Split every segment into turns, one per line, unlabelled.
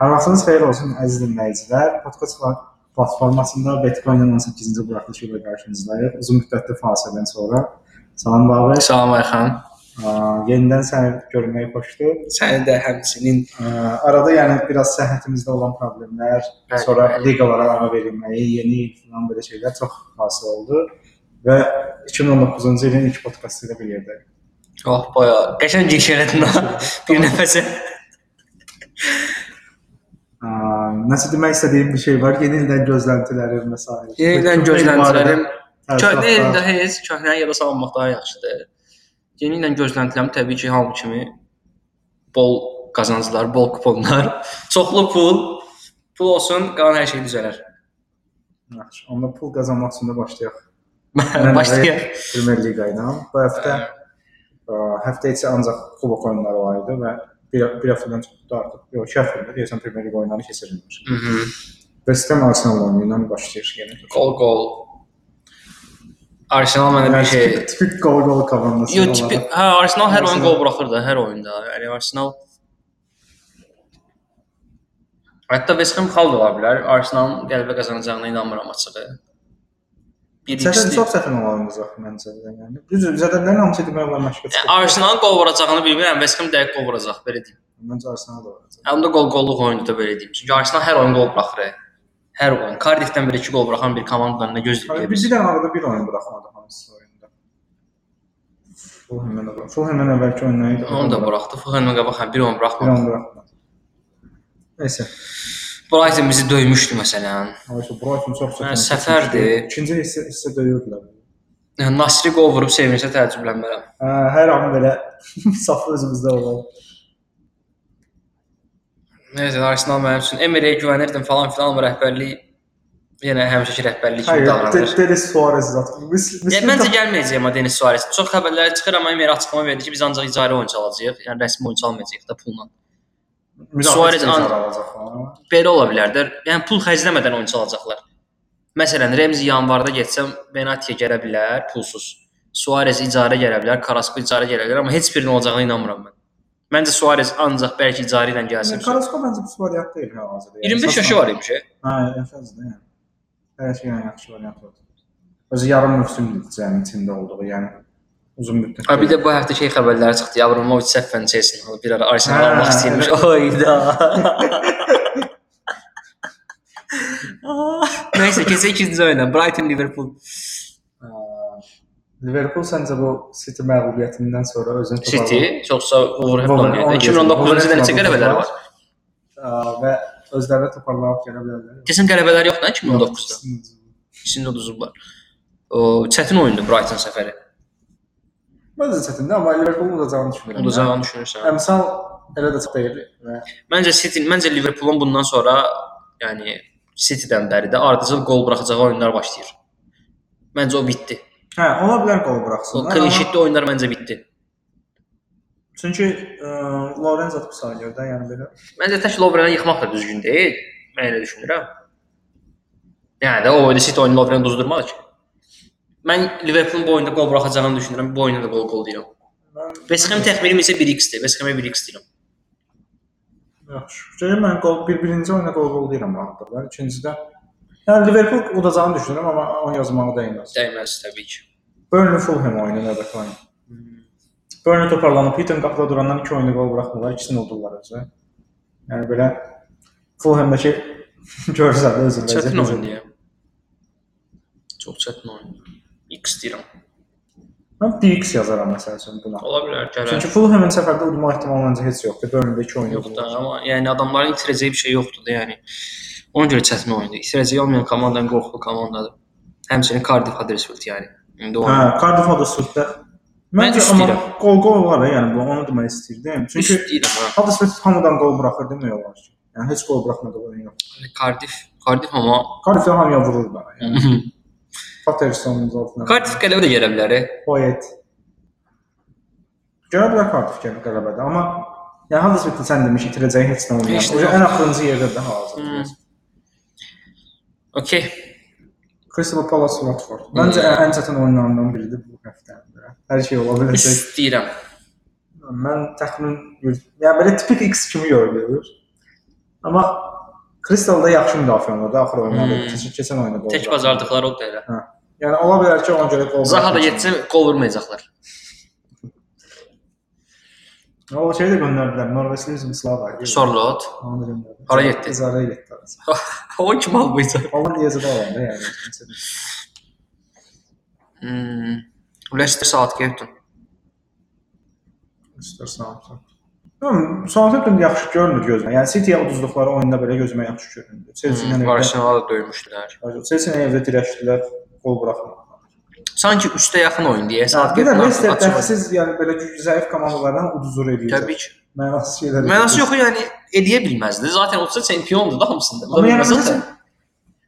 Hər vaxtınız xeyir olsun əziz dinləyicilər. Podkast pla- platformasında Bitcoin-in 18-ci buraxılışı ilə qarşınızdayıq. Uzun müddətli fasilədən sonra. Salam Babək.
Salam Ayxan.
Ə, Yenidən səni görmək xoşdur.
Səni də həmçinin
Ə, Arada yəni biraz səhhətimizdə olan problemlər,
Bəli,
sonra
bəli.
liqalara ara verilməyi, yeni il filan belə şeylər çox fasilə oldu və 2019-cu ilin ilk podkastı ilə bir yerdəyik.
oh boya qəşəng keçirədin ha. bir nəfəsə.
Ə, Nəsə demək istədiyim bir şey var. Yeni ildən gözləntilərim və s.
Yenidən
Köhnə
gözləntilərim
illərdə
köhnə
təəssüratlar-
ildə heç köhnəni yada salmaq daha yaxşıdır. Yenidən gözləntilərim təbii ki, hamı kimi bol qazanclar, bol kuponlar, çoxlu pul, pul olsun, qalan hər şey düzələr.
Yaxşı. Onda pul qazanmaq üçün də başlayaq.
Başlayaq. Hə.
Premier Liqa ilə. Bu həftə ə, həftə içi ancaq kubok oyunları var idi və bir, bir həftədən çox da artıq. Yox, iki həftədir deyəsən Premier Liqa oyunları keçirilmiş.
Mhm.
West Ham Arsenal oyunu ilə başlayır yenə.
Gol gol. Arsenal mənə bir şey
tipik- tipik gol-gol komandası.
Yo, tipi,
olaraq.
hə, Arsenal hər oyun
Arsenal-
qol buraxır da, hər oyunda. Yəni Arsenal Hətta West Ham xal da ola bilər. Arsenalın qələbə qazanacağına inanmıram açığı. Bir
Çətin
ikisi.
çox çətin olarımız var məncə də yəni. Düzdür, zədələrin hamısı demək olar məşqə
Yəni,
çıxır.
Arsenalın qol vuracağını bilmirəm, West Ham dəqiq qol vuracaq, belə deyim.
Məncə Arsenal da olacaq.
Həm də qol-qolluq oyunu da belə deyim. Çünki Arsenal hər oyun qol buraxır. Hər oyun. Cardiff-dən belə 2 qol buraxan bir komandanın nə
Hani Hə,
gözləyirik?
bir, bir dənə arada bir oyun buraxmadı hansısa oyunda. Fulhamdan əvvəl. Fulhamdan əvvəlki oyunu idi.
Onu da buraxdı. Fulham qabaq həm bir oyun
Bir an
buraxmadı.
buraxmadı. Neysə,
Brighton bizi döymüşdü məsələn.
Ayşə Brighton çox çətin.
Yəni, səfərdir.
İkinci hissə hissə döyürdülər.
Yəni, Nasri qol vurub sevinsə təəccüblənmərəm.
Hə, hər an belə saf özümüzdə olan.
Nəyəcə Arsenal mənim üçün Emery-yə güvənirdim falan filan amma rəhbərlik yenə həmişəki rəhbərlik kimi
Hayır,
davranır.
Denis Suarez zaten. Mis, mis,
Ya məncə gəlməyəcək amma Denis Suarez. Çox xəbərlər çıxır amma Emery açıqlama verdi ki, biz ancaq icarə oyunçu alacağıq, yəni rəsmi oyunçu almayacağıq da pulla. Suarez an-
alacaq. ha.
Belə ola bilər də. Yəni pul xərcləmədən oyunçu alacaqlar. Məsələn, Remzi yanvarda getsəm Benatiya gələ bilər pulsuz. Suarez icarə gələ bilər, Carrasco icarə gələ bilər amma heç birinin olacağına inanmıram mən. Məncə Suarez ancaq bəlkə icarə ilə gəlsin.
Yəni, Carrasco məncə bu variant deyil hal-hazırda. yəni.
25 yaşı var imiş. e.
Hə, yaxşıdır. yəni. Hər şey yəni yaxşı variant oldu. Özü yarım mövsümdür cəmi içində olduğu, yəni uzun müddət.
Ha bir də bu həftə şey xəbərləri çıxdı. Abramovic səhvən Chelsea alıb bir ara Arsenal
Hə,
almaq istəyirmiş. Oyda. Nəysə, keçək ikinci oyuna. Brighton Liverpool.
Ə, Eh, Liverpool səncə bu City məğlubiyyətindən sonra özünü
City çoxsa
Wolverhampton-
Wolverhampton. 2019-cu ildə neçə qələbələr var?
toparladı. Ə, və özlərini toparlanıb gələ bilərlər.
Desən qələbələr yoxdur 2019-da.
Yox,
İkisini də uduzublar. O çətin oyundur Brighton səfəri.
Məncə çətindir, amma Liverpool udacağını düşünürəm.
Uduzanı düşünürsən.
Əmsal elə də çox deyil və
Məncə City, məncə Liverpoolun bundan sonra, yəni City-dən bəri də ardıcıl qol buraxacağı oyunlar başlayır. Məncə o bitdi.
hə, ola bilər qol
O
buraxsınlar. amma-
klinşitli oyunlar məncə bitdi.
Çünki ə, Lorenz atıb sağa görə də, yəni belə.
Məncə tək Lovrenə yıxmaq da düzgün deyil. Mən elə düşünürəm. Yəni də o oyunda City oyunu Lovrenə duzdurmadı ki. Mən Liverpoolun bu oyunda qol buraxacağını düşünürəm. Bu oyunda da qol qol deyirəm.
Mən
West Ham təxminim isə 1x-dir. West Ham-ə 1x deyirəm.
Yaxşı. Görürəm mən qol bir birinci oyuna qol qol deyirəm artıq. Mən ikincidə yəni Liverpool udacağını düşünürəm, amma onu yazmağa dəyməz.
Dəyməz təbii ki.
Burnley Fulham oyunu növbəti oyun. Burnley toparlanıb Heaton qapıda durandan 2 oyunda qol buraxmırlar, ikisini udurlar özü. Yəni belə Fulhamdakı görsən özün
Çətin
vəziyyət.
oyundur. Çox çətin oyundur. X deyirəm.
Mən DX yazaram məsəl üçün buna.
Ola bilər
Çünki
gələr.
Fulhamın səfərdə udma ehtimalı məncə heç yoxdur. Burnleydə 2 oyun
Yox da, amma yəni adamların itirəcəyi bir şey yoxdur da, yəni. Ona görə çətin oyundur. İtirəcəyi olmayan komandanın qorxulu komandadır. Həmçinin Cardiff Huddersfield yəni. İndi o
Hə, Cardiff Huddersfield-də
Mən
Məncə amma
istəyirəm.
qol-qol var da, yəni bu onu demək istəyirdim. Çünki
Üst deyirəm ha.
Huddersfield hamıdan qol buraxır demək olar ki. Yəni heç qol buraxmadı oyun yox.
Cardiff, Cardiff amma
Cardiff hamıya vurur da. Yəni Patterson'un altına.
Cardiff qələbə də gələ bilər. e.
Poet. Görə bilər Cardiff kimi qələbədə, amma yəni Huddersfield sən demiş itirəcəyi heç nə olmayacaq.
Heç nə
O
yox.
ən axırıncı yerdədir
Hmm.
hazır.
Okay.
Crystal Palace Watford. E Məncə
Hmm.
ən çətin oyunlarından biridir bu həftə. Hər şey ola biləcək.
İstəyirəm.
Mən təxmin yəni belə tipik X kimi görünür. Amma Crystal da yaxşı müdafiə oynadı axır oyunda.
Hmm.
Keçən keçən oyunda qol.
Tək
buraxdı.
bacardıqları odur elə.
Yəni ola bilər ki, ona görə qol.
Zaha da
buraxmasın.
getsə qol vurmayacaqlar.
O şey də göndərdilər. Norveçli bizim Slava.
Sorlot.
Onu da göndərdilər.
Hara getdi?
İzarəyə getdi. arası.
o kim almayacaq?
Hollandiyada olanda yəni.
Hmm. Leicester Southampton.
Üstər Southampton. Həm Southampton yaxşı görünür gözlə. Yəni City-yə uduzduqları oyunda belə gözümə yaxşı göründü. Chelsea-lə
Hmm.
evdə
Arsenal'a da döymüşdülər.
Chelsea-lə evdə dirəşdilər, qol buraxmadılar.
Sanki 3-də yaxın oyun deyə
Bir də Leicester
Southampton
dəxsiz, yəni belə güc- zəif komandalarla uduzur eləyir.
Təbii ki.
Mənasız şeylər.
Mənası yox yəni edə bilməzdi. Zaten olsa çempiondu da hamısında.
Amma yəni məsələn,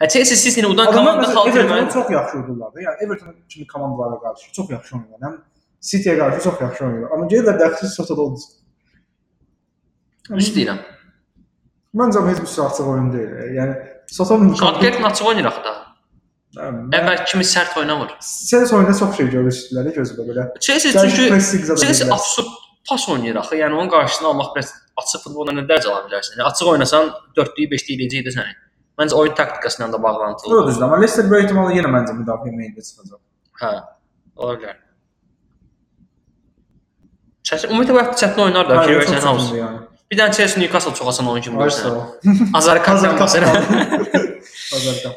Hə, Chelsea City-ni udan
adamlar
komanda
məsələn Everton
xalqı
çox yaxşı udurlar. da. Yəni Everton kimi komandalara qarşı çox yaxşı oynayırlar. Həm City-yə qarşı çox yaxşı oynayırlar. Amma gəlirlər dəxsiz Sota'da olmaz.
Düz deyirəm.
Məncə bu heç bir sıraçıq oyun deyil. Yəni Sota'nın
Southgate açıq oynayır axı da.
Hə,
Əvvəl kimi sərt oynamır.
Chelsea oyunda çox şey görürsüzlər, gözlə belə.
Chelsea
Çünki
çünki
pressing zada.
Chelsea absurd pas oynayır axı. Yəni onun qarşısını almaq biraz açıq futbolla nə dərc ala bilərsən? Yəni açıq oynasan 4-lüyü 5-liyi eləyəcək də səni. Məncə oyun taktikasından da bağlantılı.
Bu düzdür, amma Leicester böyük ehtimalla yenə məncə müdafiə meyilli çıxacaq.
Hə. Ola bilər. Chelsea ümumiyyətlə bu həftə çətin oynar da, fikir versən hamısı.
yəni.
Bir dənə Chelsea Newcastle çox asan oyun kimi
Varsa
görsən.
o.
Azarkan məsələn.
Hazır qaptan.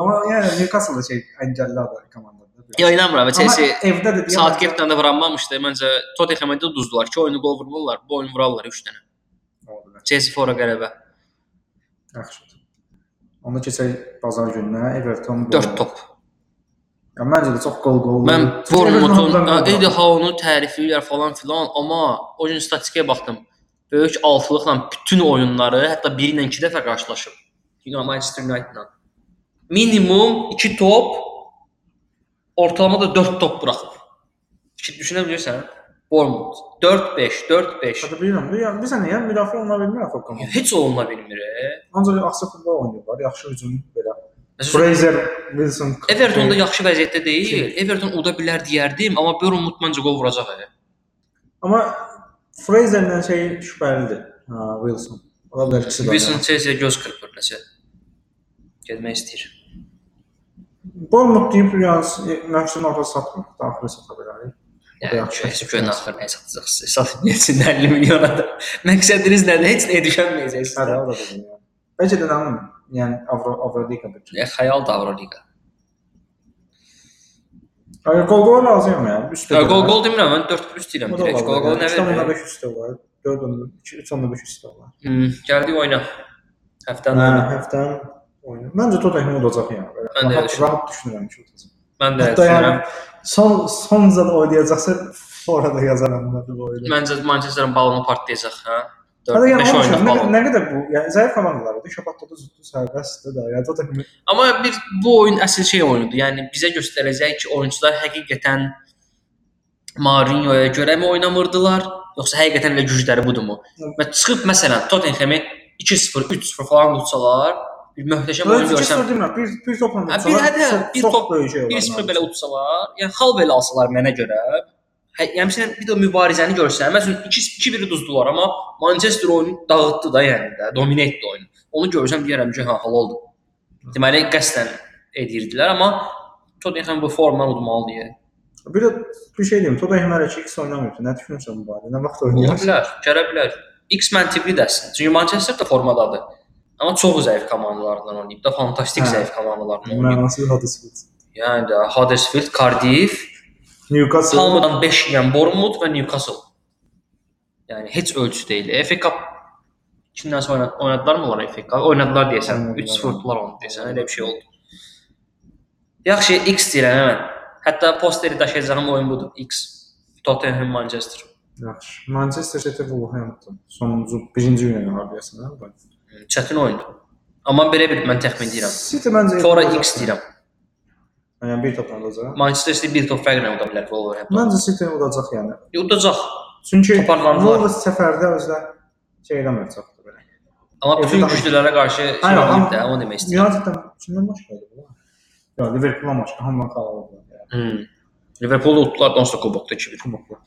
Amma yəni Newcastle da şey əngəlli adam komandadır.
Ya inanmıram. Chelsea
Amma evdə də
Saatgirtlə də vuranmamışdı. Məncə Tottenhamə də duzdular. 2 oyunu qol vurmurlar. Bu oyun vurarlar 3 dənə.
Oldu.
Chelsea fora qələbə.
Yaxşı. Onda keçək bazar gününə Everton
4 top.
Ya məncə də çox gol gol.
Mən Bournemouthun Eddie Howe-nu tərifləyirlər falan filan, amma o gün statistikaya baxdım. Böyük altılıqla bütün oyunları, hətta 1 ilə 2 dəfə qarşılaşıb. United- Manchester United-la. Minimum 2 top, ortalama da 4 top buraxıb. Fikir düşünə bilirsən? Bournemouth 4-5, 4-5.
Şada bilirəm. Bu yəni bilirsən yəni müdafiə oluna bilmir axı o komanda.
Heç olunma bilmir. e.
Ancaq axsa futbol oynayırlar, yaxşı hücum belə.
Məsələn,
Fraser, Wilson.
Everton da yaxşı vəziyyətdə deyil.
Kim?
Everton uda bilər deyərdim, amma Bournemouth məncə qol vuracaq. e.
Amma Fraser'dan şey şübhəlidir. Ha, Wilson. Ola bilər ikisi də.
Wilson Chelsea göz qırpır nəsə. Getmək istəyir.
Bournemouth deyib yəni məşqçinin orta satmır, daxili sata bilərik.
Yəni
yaxşı.
heç gün axır nə satacaqsınız? Satın üçün 50 milyona da. Məqsədiniz nədir? Heç nəyə
Hə,
düşənməyəcəksiniz.
o da dedim yəni. Bəlkə də nəmin, yəni Avro Avroliqa bir.
Yə E, xəyal da Avroliqa.
Ay gol gol lazım yəni. Üstə.
Hə, Qol qol demirəm, mən 4+ deyirəm direkt. Qol qol nə verir?
5 üstə var. 4 onda 2 3 onda 5 üstə var.
Hmm, Gəldi oyna. Həftənin
Hə,
oyunu.
həftədən oyun. Məncə Tottenham olacaq yəni. Belə
Mən də
rahat-
elə düşünürəm.
rahat düşünürəm ki, olacaq.
Mən də elə
Hətta yəni
düşünürəm.
son son zad oynayacaqsa orada yazaram da bu oyunu.
Məncə Manchesterin balonu partlayacaq, hə?
Hələ
4-5
yəni
oyunda
oyun nə,
balon.
nə qədər bu, yəni zəif komandalardır. Şapatda da züddü sərbəstdir də. Yəni Tottenham
Amma bir bu oyun əsl şey oyunudur. Yəni bizə göstərəcək ki, oyunçular həqiqətən Mourinho-ya görəmi oynamırdılar, yoxsa həqiqətən elə gücləri budurmu? Və çıxıb məsələn Tottenham-i 2-0, 3-0 falan utsalar, bir möhtəşəm oyun
Böyük
görsən,
bir demirəm. Bir bir topla
Hə, bir hədə, bir top-
böyük şey olar.
1-0 belə utsalar, yəni xal belə alsalar mənə görə, hə, yəni məsələn bir də o mübarizəni görsən, məsələn 2-2-1 uduzdular, amma Manchester oyunu dağıtdı da yəni də, domine etdi oyunu. Onu görsən deyərəm ki, hə, halaldır. Deməli qəsdən edirdilər, amma Tottenham bu formadan udmalı deyə.
Bir də bir şey deyim. Tottenham hələ ki X oynamır. Nə düşünürsən bu barədə? Nə vaxt
Ola
oynayacaq?
bilər, gələ bilər. X məntiqli dəsin. Çünki Manchester də formadadır. Amma çox zəif komandalardan oynayıb da, fantastik
Hə.
hə. zəif komandalardan oynayıb.
Mənasız Huddersfield.
Yəni də Huddersfield, Cardiff,
Newcastle.
Palmadan 5 yeyən Bournemouth və Newcastle. Yəni heç ölçü deyil. FA Cup kimdən sonra oynad- oynadılar mı onlar FA Cup? Oynadılar deyəsən.
Oynadılar.
3-0 vurdular onu deyəsən. Elə bir şey oldu. Yaxşı, X deyirəm hə mən. Hətta posteri daşıyacağım oyun budur. X. Tottenham Manchester.
Yaxşı. Manchester City Wolverhampton. Sonuncu birinci günə müharibəsinə.
Çətin oyundur. Amma belə bir mən təxmin edirəm.
City məncə
Sonra X deyirəm.
Yəni bir topla olacaq.
Manchester City bir top fərqlə uda bilər Wolverhampton.
Məncə City olacaq yəni.
Udacaq.
Çünki
Toparlandılar.
Wolves səfərdə özlə şey eləməyəcəkdir belə.
Amma bütün
Evdə
güclülərə qarşı şey
Aynen,
olmayıb
ama-
da, onu demək istəyirəm.
United-dən kimdən maç qaldı bu? Ya Liverpool maçı hamıdan qaldı.
Hmm. Liverpool utdular da onsuz da kubokda 2-1.
Kuboklar.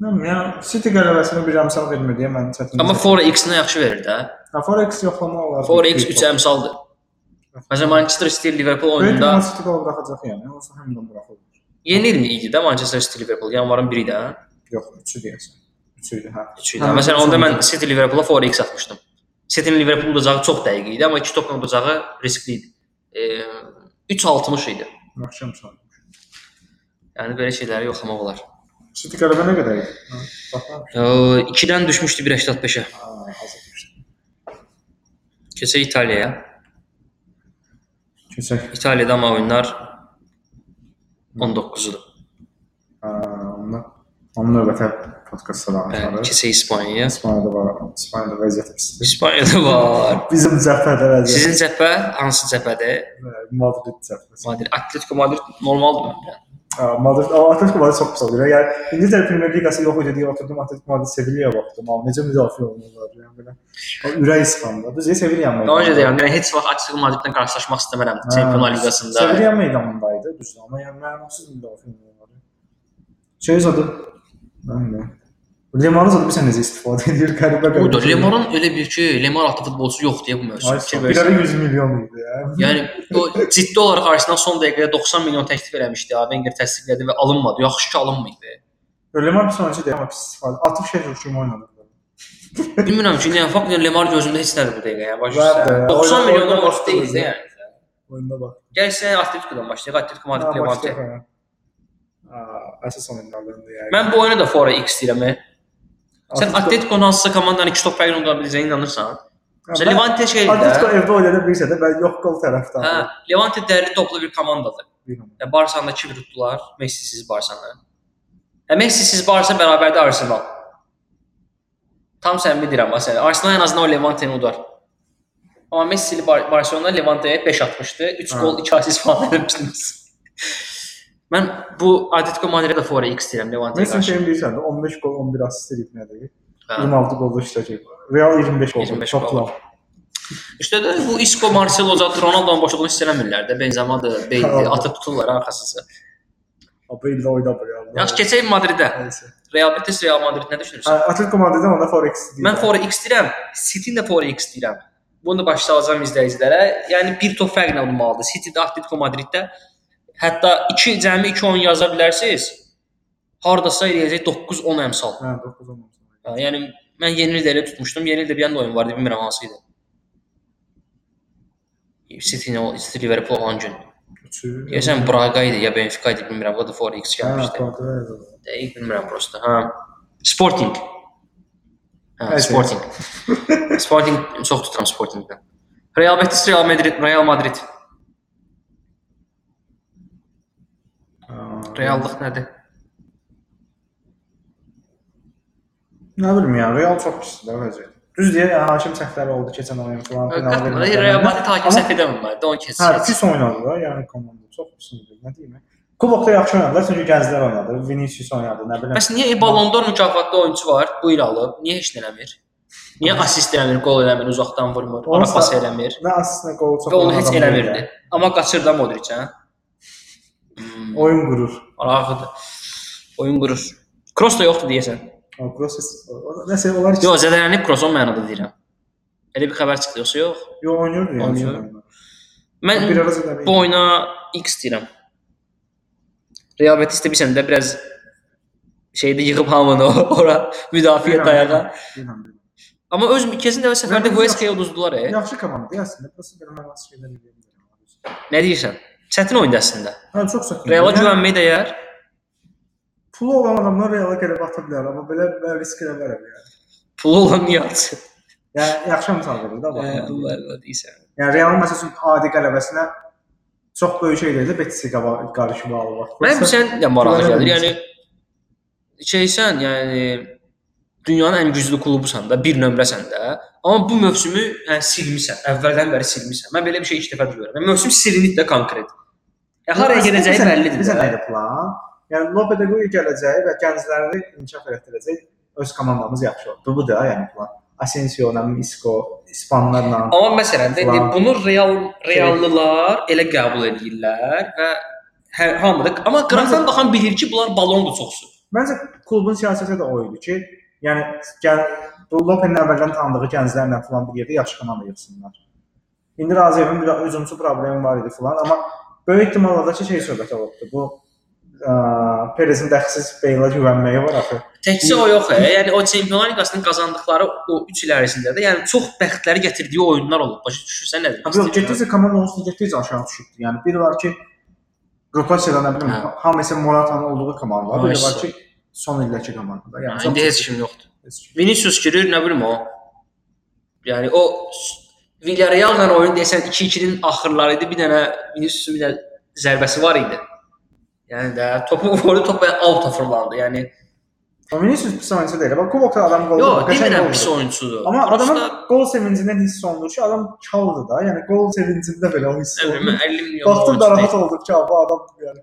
Bilmirəm, yəni City qələbəsini bir əmsal vermir deyə mən çətin.
Amma Forex-nə yaxşı verir də.
Ha, Forex yoxlamaq olar.
Forex 3 əmsaldır. Məsələn Manchester City Liverpool
Böyük
oyununda
ehtimal City qol buraxacaq yəni. Olsa həmdən buraxılır.
yenilmi idi də Manchester City Liverpool yanvarın 1-i də.
Yox, 3-ü deyəsən. 3-ü idi, hə.
3-ü də. Məsələn onda mən City Liverpoola Forex atmışdım. City-nin Liverpool udacağı çox dəqiq idi, amma 2 topla udacağı riskli idi. E, 3.60 idi.
Naxşam çalmış.
Yəni belə şeyləri yoxlamaq olar.
City qələbə nə qədər idi? Hə, Ha, Baxma.
E, 2-dən düşmüşdü 1.85-ə.
Ha, azalmışdı.
Keçək İtaliyaya.
Keçək.
İtaliyada amma oyunlar 19-udur.
Ha, onda onun növbəti podkastda
Bəli,
danışarıq.
Hə, keçək İspaniyaya.
İspaniyada var, İspaniyada vəziyyət pisdir.
İspaniyada var.
şey Bizim cəbhədə vəziyyət.
Sizin cəbhə hansı cəbhədir?
Sizin Ee, Madrid cəbhəsi.
Madrid, Atletico Madrid normaldır məncə.
Ha, Madrid, o Atletico Madrid çox pis olur. Yəni İngiltərə Premyer Liqası yox idi deyə oturdum Atletico Madrid Sevilla'ya baxdım. Al necə müdafiə olunurlar yəni belə. O ürək sıxanda. Biz Sevilla mı?
Daha öncə deyirəm, mən heç vaxt Atletico Madridlə qarşılaşmaq istəmirəm Çempionlar Liqasında.
Sevilla meydanındaydı düzdür amma yəni mənasız müdafiə olunurlar. Şey adı mən də. Lemar'ın adı bilirsən necə istifadə edir qəribə qəribə.
Budur, Lemorun elə bir ki, Lemar adlı futbolçu yoxdur ya bu
Ay,
mövsüm.
çox,
Fikir
Bir ara
versin.
100 milyon idi ya.
Yəni o ciddi olaraq Arsenal son dəqiqədə 90 milyon təklif eləmişdi. ha, Wenger təsdiqlədi və alınmadı. Yaxşı ki, alınmayıb.
Lemar bir sonraki deyir amma pis istifadə. Atıb şey kimi oynadı.
Bilmirəm ki, nə fakt Lemar gözümdə heç nədir bu dəqiqə. Yəni başa
Var da,
düşürsən. 90
oyuna-
milyondan
oyuna
az deyil
baxdınız,
də yəni.
Oyunda bax.
Gəl sən Atletico-dan başlayaq. Atletico Madrid
Ha,
Levante.
başlayaq, ha. Aa, Əsas oyunlardandır yəni.
Mən bu oyuna da Forex deyirəm. e. Sən
Atletico-
Atletico-nun hansısa komandanın 2 top fərqli ola biləcəyinə inanırsan? Məsələn,
Mən-
Levante şey
Atletico
də.
evdə oynada bilirsə də mən yox qol
Hə,
tərəfdarıyam.
Levante dərli toplu bir komandadır.
Bilmirəm.
Yəni Barsanı da 2-1 tutdular. Messi-siz Barsanı. Hə Messi-siz Barsa bərabərdə Arsenal. Tam səmimi deyirəm ha sənə. Arsenal ən azından o Levante-ni udar. Amma Messi-li Bar Barcelona Levante-yə 5 atmışdı. 3
Hə.
gol, 2 assist falan vermişdiniz. Mən bu Atletico Madrid-ə də Forex deyirəm Levante-yə
Messi
qarşı.
şeyin bilirsən də 15 gol 11 assist edib nə deyir?
Hə.
26 golda işləyəcək. şey. Real 25 gol.
25
Toplam.
qol. İşte də bu Isco, Marcelo, zaten Ronaldo-nun boşluğunu hiss eləmirlər də. Benzema-dır, Bale-dir,
Tamam.
atıb tuturlar arxasınca.
Apreldə oynadı Real.
Yaxşı keçək Madridə.
Nəysə.
Real Betis, Real Madrid nə düşünürsən?
Hə, Atletico Madrid'dən onda Forex deyir.
Mən Forex deyirəm, City-ni də Forex deyirəm. Bunu da başa salacağam izləyicilərə. Yəni bir top fərqlə olmalıdır. City-də Atletico Madriddə hətta 2 cəmi 2 oyun yaza bilərsiniz. Hardasa eləyəcək 9-10 əmsal.
hə 9 olmaz.
Hə, Yəni mən yeni ildə elə tutmuşdum. Yeni ildə bir yanda oyun vardı, bilmirəm hansı idi. City ilə City Liverpool olan gün.
3-ü.
Deyəsən Braga idi ya Benfica idi, bilmirəm. O da Forex gəlmişdi.
Hə,
Dəqiq bilmirəm prosta. Hə. Sporting. Hə,
Evet,
Sporting. Sporting çox tuturam Sportingdən. Real Betis, Real Madrid, Real Madrid. Reallıq nədir?
Nə bilim ya, Real çox pisdir də vəziyyət. Düz deyə yəni, hakim səhvləri oldu keçən oyun falan. final
Qatmadı.
vermədi.
Real Madrid hakim
Amma-
səhv edəməməli. Don
Hə,
keçsin.
pis oynadılar, yəni komanda çox pis oynadı, nə deyim. Kubokda yaxşı oynadılar, çünki gənclər oynadı, Vinicius oynadı, nə bilim.
Bəs niyə Ballon d'Or mükafatlı oyunçu var? Bu il alıb. Niyə heç nə eləmir? Niyə assist eləmir, qol eləmir, uzaqdan vurmur,
Onu
ona
sa-
pas eləmir
Nə asist, nə gol çox
və onu
olan
heç
adam deyil
eləmirdi. Amma qaçır da Modric, Mm, hə?
yəni. Oyun qurur.
Araqıdır. Oyun qurur. Kroos da yoxdur deyəsən.
O proses nəsə onlar heç
Yox, zədələnib Kroos o mənada deyirəm. Elə bir xəbər çıxdı yoxsa yox?
yo oynayırdı yəni.
Oynayır.
Oynayır.
Mən
Bir ara zədələyir.
bu oyuna X deyirəm. Real Betis də bilirsən də biraz şeydə yığıb hamını ora müdafiə dayağa. Amma öz kesin də səfərdə
Mən-
Huesca-ya uduzdular. e.
Yaxşı komanda əslində, prosta belə mənasız şeylər edə bilmirəm.
Nə deyirsən? Çətin oyundu əslində.
Hə, çox çətin.
Reala
Yəni,
güvənmək dəyər.
Pulu olan adamlar Reala qələbə ata bilər, amma belə belə risk edə bilərəm yəni.
Pulu olan niyə atsın?
Yəni yaxşı misal verir də
Hə,
bax.
Allah Allah deyirsən.
Yəni Realın məsələn adi qələbəsinə çox böyük şey deyildi, Betis-i qabağa qarışıb aldı. bax.
Mənim
Prosta-
sən də maraqlı
Güvənə
gəlir. Yəni
bilmirsən.
şeysən, yəni dünyanın ən güclü klubusan da, bir nömrəsən də. Amma bu mövsümü yəni silmisən, əvvəldən bəri silmisən. Mən belə bir şey ilk dəfə duyuram. Yəni mövsüm silinib də konkret. Ya haraya gedəcəyi
Bizə-
bəllidir.
Bizə
də.
nədir plan? Yəni Lope de Gea gələcəyi və gəncləri inkişaf elətdirəcək öz komandamız yaxşı oldu. Bu da yəni plan. Asensio, Isco, İspanlarla.
Amma məsələn də indi
Plan.
bunu real reallılar elə hə, qəbul edirlər və hər hamı da amma qıraqdan baxan bilir ki, bunlar balondur çoxsu.
Məncə klubun siyasəti də o idi ki, yəni gəl bu Lopenin əvvəldən tanıdığı gənclərlə falan bir yerdə yaxşı komanda yığsınlar. İndi Raziyevin bir hücumçu problemi var idi falan, amma böyük ehtimalla da ki, şey söhbəti olubdu. Bu ə, Perezin dəxsiz Beylə güvənməyi var axı.
Təkcə o yox, e. yəni o Çempionlar Liqasının qazandıqları o 3 il ərzində də, yəni çox bəxtləri gətirdiyi oyunlar olub. Başa düşürsən nə
Abi yox,
demək istəyirəm?
getdikcə komanda onun getdikcə aşağı düşürdü. Yəni biri var ki, rotasiyada nə bilim,
Hə.
Hames Morata'nın olduğu komanda var, biri
Ayşə.
var ki, son ildəki komandada.
Yəni, İndi heç kim yoxdur.
heç kim.
Vinicius girir, nə bilim o. Yəni o Villarreal-la oyun desən 2-2-nin axırları idi. Bir dənə Vinicius bir dənə zərbəsi var idi. Yəni də topu vurdu, topu out fırlandı. Yəni
O Vinicius pis oyunçu deyil. Bax kubokda adam qol
yox,
vurdu, qəşəng
demirəm
qol
pis
vurdu.
oyunçudur.
Amma
Prosta-
adamın qol sevincindən hiss olunur ki, adam çaldı da. Yəni qol sevincində belə o hiss
Nə bilim, mən
olunur.
50 milyon
Baxdım
oyunçu
narahat
deyil.
oldum ki, bu adam yəni.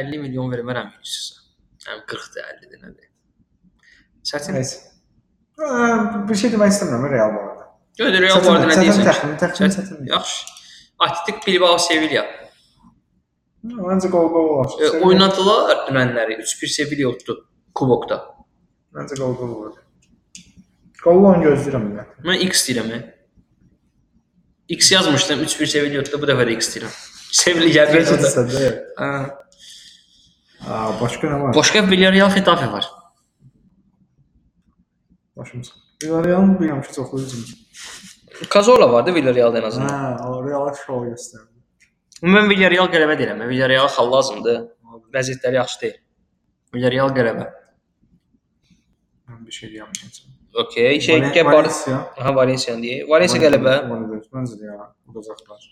50 milyon vermərəm Viniciusa. Yəni 40-dır, 50-dir, nədir? Çətin.
Nəysə. Ə, Bir şey demək istəmirəm Real barədə.
Gördür, Real bu arada nə
Çətin
deyirsən?
təxmin, təxmin
Çətin.
çətin.
Yaxşı. Atletik Bilbao Sevilla.
Məncə qol qol olar.
E, oynadılar dünənləri 3-1 Sevilla utdu kubokda.
Məncə qol qol olar. Qolla onu gözləyirəm mən.
Mən X deyirəm. e. X yazmışdım 3-1 Sevilla utdu, bu dəfə də X deyirəm. Sevilla gəldi
Rəqəmsən
utdu.
səndə.
Ha.
Aa, başqa nə var?
Başqa Villarreal Getafe var.
Başımız. Real'ın bu yamışı çoxlu üzüm.
Cazorla vardı Villarreal'da en azından.
Hə, o Real'a şov göstərdi.
Mən Villarreal qələbə deyirəm. e. Villarreal xal lazımdır. Vəziyyətləri yaxşı deyil. Villarreal qələbə.
Mən bir şey deyəməyəcəm.
Okay, şey
Valen-
Gebar.
Valencia.
Aha Valencia deyir. Valencia qələbə
Valencia, Məncə də ya, udacaqlar.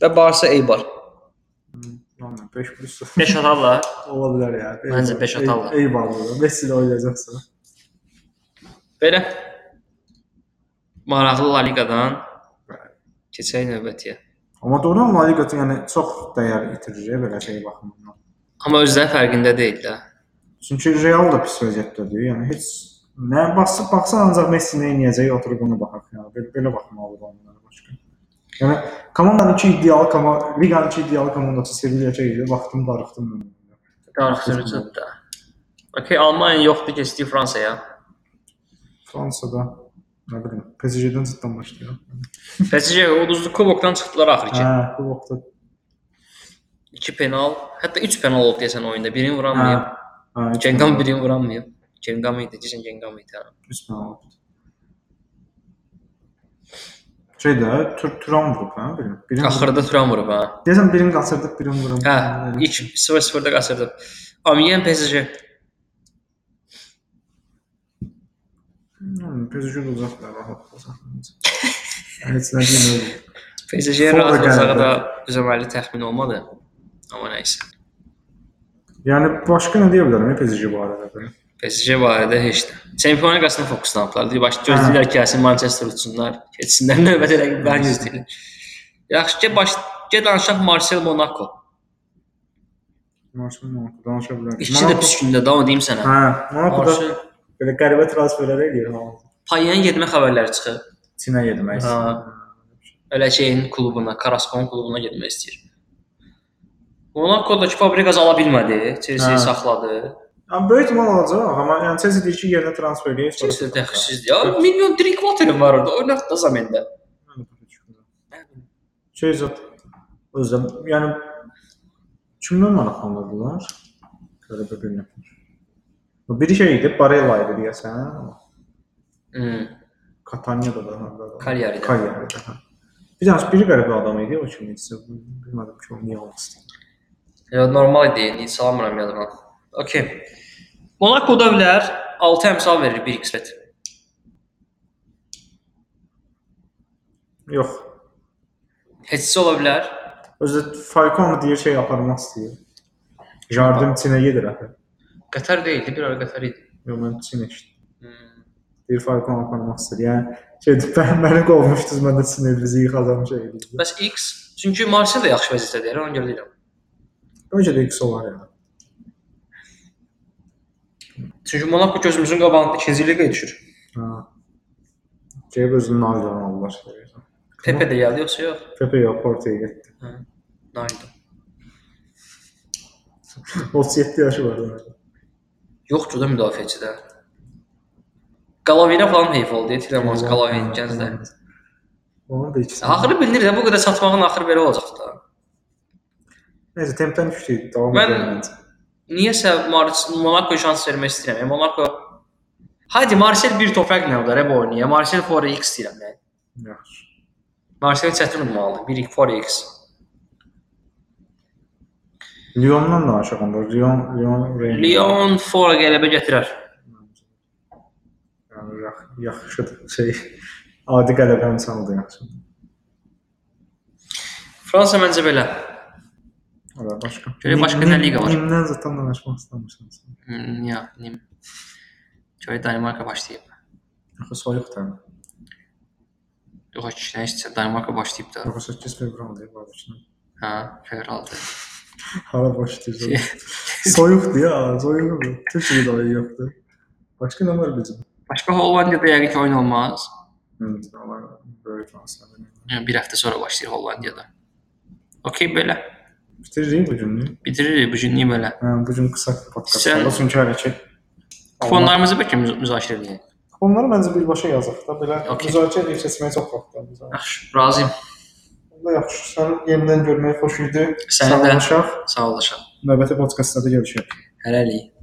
və Barsa Eibar.
Amma 5 plus
5 atarlar.
ola bilər ya.
Məncə beş atarlar.
Eyvallah. Messi ilə oynayacaqsa.
Belə maraqlı La Liqadan keçək növbətiyə.
Amma doğrudan La Liga yəni çox dəyər itirir ya, belə şey baxımından.
Amma özləri fərqində deyillər.
Çünki Real da pis vəziyyətdədir. Yəni heç nə baxsa baxsa ancaq Messi nə edəcək oturub ona baxaq yəni. Belə, belə baxmalıdır onlara başqa. Yəni komandanın ki ideal komanda, liqanın ki ideal komandası Sevilla idi. Vaxtım darıxdım mən.
Darıxdırıcıdır da. Okay, Almaniya yoxdur, keçdik Fransaya.
Fransada nə bilim PSG-dən cidden başlayır.
PSG uduzdu kubokdan çıxdılar axır ki.
Hə, bu vaxtda
2 penal, hətta 3 penal oldu desən oyunda. Birini
hə.
vuramayıb.
Hə,
Cengam birini vuramayıb. Cengam idi, desən Cengam idi. ha.
Üstünə oldu. Şeydə Tur Turan vurub hə birin. Birin.
Axırda Turan vurub ha.
Deyəsən birin qaçırdıq, birin vurum.
Hə, ilk 0-0-da qaçırdım. Amiyen PSG.
Gözücü uzaqlar rahat olacaq. Heç nə deyilmir.
PSG-yə
Sonra
razı olacağı
qələbə.
da düzəməli təxmin olmadı. Amma nə isə.
Yəni başqa nə deyə bilərəm PSG barədə?
PSG barədə heç nə. Çempionlar Liqasına fokuslanıblar. Deyir, baş gözləyirlər ki, gəlsin Manchester utsunlar, keçsinlər növbəti rəqiblərini izləyirlər. Yaxşı ki, baş get danışaq Marcel Monaco.
Maçın Monaco danışa bilərəm.
İkisi də pis gündə də, onu deyim sənə.
Hə, Monaco
Marcel
belə qəribə transferlər eləyir ha.
Payen getmə xəbərləri çıxır.
Çinə yedmək.
Ha.
istəyir.
Elə şeyin klubuna, Karaskon klubuna getmək istəyir. Monaco-dakı Fabregas ala bilmədi, Chelsea
Hə.
saxladı.
Amma böyük ehtimal olacaq, amma yəni Chelsea deyir ki, yerinə transfer eləyir. sonra
Chelsea
satar.
dəxilsizdir. Ya milyon Drinkwater-ın var orada, oynat da zamində.
Mən də başa düşmürəm. Şey zət özüm, yəni kimdən maraqlanırdılar? Qəribə bir nəfər. Bu biri şey idi, Barella idi deyəsən.
Hmm.
Katanya'da da həmdə.
Cagliari'də.
Kalyari'də. Hə. Bir dənə biri qəribə adam idi, o kim idi? Bilmədim ki, o niyə olmasın.
Ya normal idi, indi salamıram yadıma. Okay. Monaco da bilər 6 əmsal verir 1 qismət.
Yox.
Heçsi ola bilər.
Özü Falcon deyir şey aparmaq istəyir. Jardim Çinə gedir axı.
Qatar deyildi, bir ara Qatar idi.
Yox, mən Çinə eşitdim.
Hmm.
Deyir Falcon aparmaq istəyir. Yəni şey, mən məni qovmuşdunuz, mən də Çinə bizi yıxacam şey idi.
Bəs X, çünki Marcel də yaxşı vəziyyətdədir, ona görə deyirəm.
Öncə də X olar yəni.
Çünki Monaco gözümüzün qabağında 2-ci liqaya düşür.
Ha. Ceyb özünü Naldan aldılar.
Pepe də gəldi yoxsa yox?
Pepe ya Porto'ya gitti.
Hə. Naydı.
37 yaşı var. yani.
Yoxdur da müdafiəçidə. Qalavinə falan heyf oldu. Etiləməz Qalavin gəncdə.
Onun da ikisi.
Axırı bilinir də bu qədər satmağın axırı belə olacaq da.
Neyse tempdən düşdük. Davam
Mən-
edelim.
Niyəsə Mar- Monaco şans vermək istəyirəm. Yəni, Monaco Hadi Marcel bir toprak nə olar hə, bu oynaya? Marcel Forex X istəyirəm mən.
Yaxşı.
Marcel çətin olmalı. 1 Forex. X.
Lyon'dan da aşağı onda. Lyon, Lyon, Rennes.
Lyon Fora qələbə gətirər.
Yani yax- yaxşıdır. Şey, adi qələbə imkanı da yaxşıdır.
Fransa məncə belə.
Ola başqa.
Görək başqa
Nim-
nə liqa var?
Nimdən zaten danışmaq istəmirsən. sən.
Hmm, ya, nim. Görək Danimarka başlayıb.
Yoxsa soyuq da.
Yox, ki, nə istəyirsən? Danimarka başlayıb da.
Yoxsa 8 fevraldır qardaşım.
Hə, fevralda.
Hara başlayacağım. soyuqdu ya, soyuq. Türkiye'de de ayı yoktu. Başka ne var bizim?
Başqa Hollandiyada yəqin ki, oyun olmaz.
Hı, onlar böyle transferler.
Yəni, bir həftə sonra başlayır Hollandiyada. Okey, belə.
Bitireceğim bu cümleyi.
Bitiririk bu günlük belə.
Ha, bu cümle kısa podcast.
Sen-
Sen... Çünkü öyle ki.
Kuponlarımızı bəlkə müz- müzakirə edək.
Onları bence birbaşa yazaq da. Böyle okay.
Okey.
müzakirə edib seçməyə çox vaxt var.
Yaxşı, razıyam.
Onda yaxşı, sən yenidən görmək xoş idi.
Səni də.
Sağ olun.
Sağ olaşam.
Növbəti podcastda da görüşək.
Hələlik.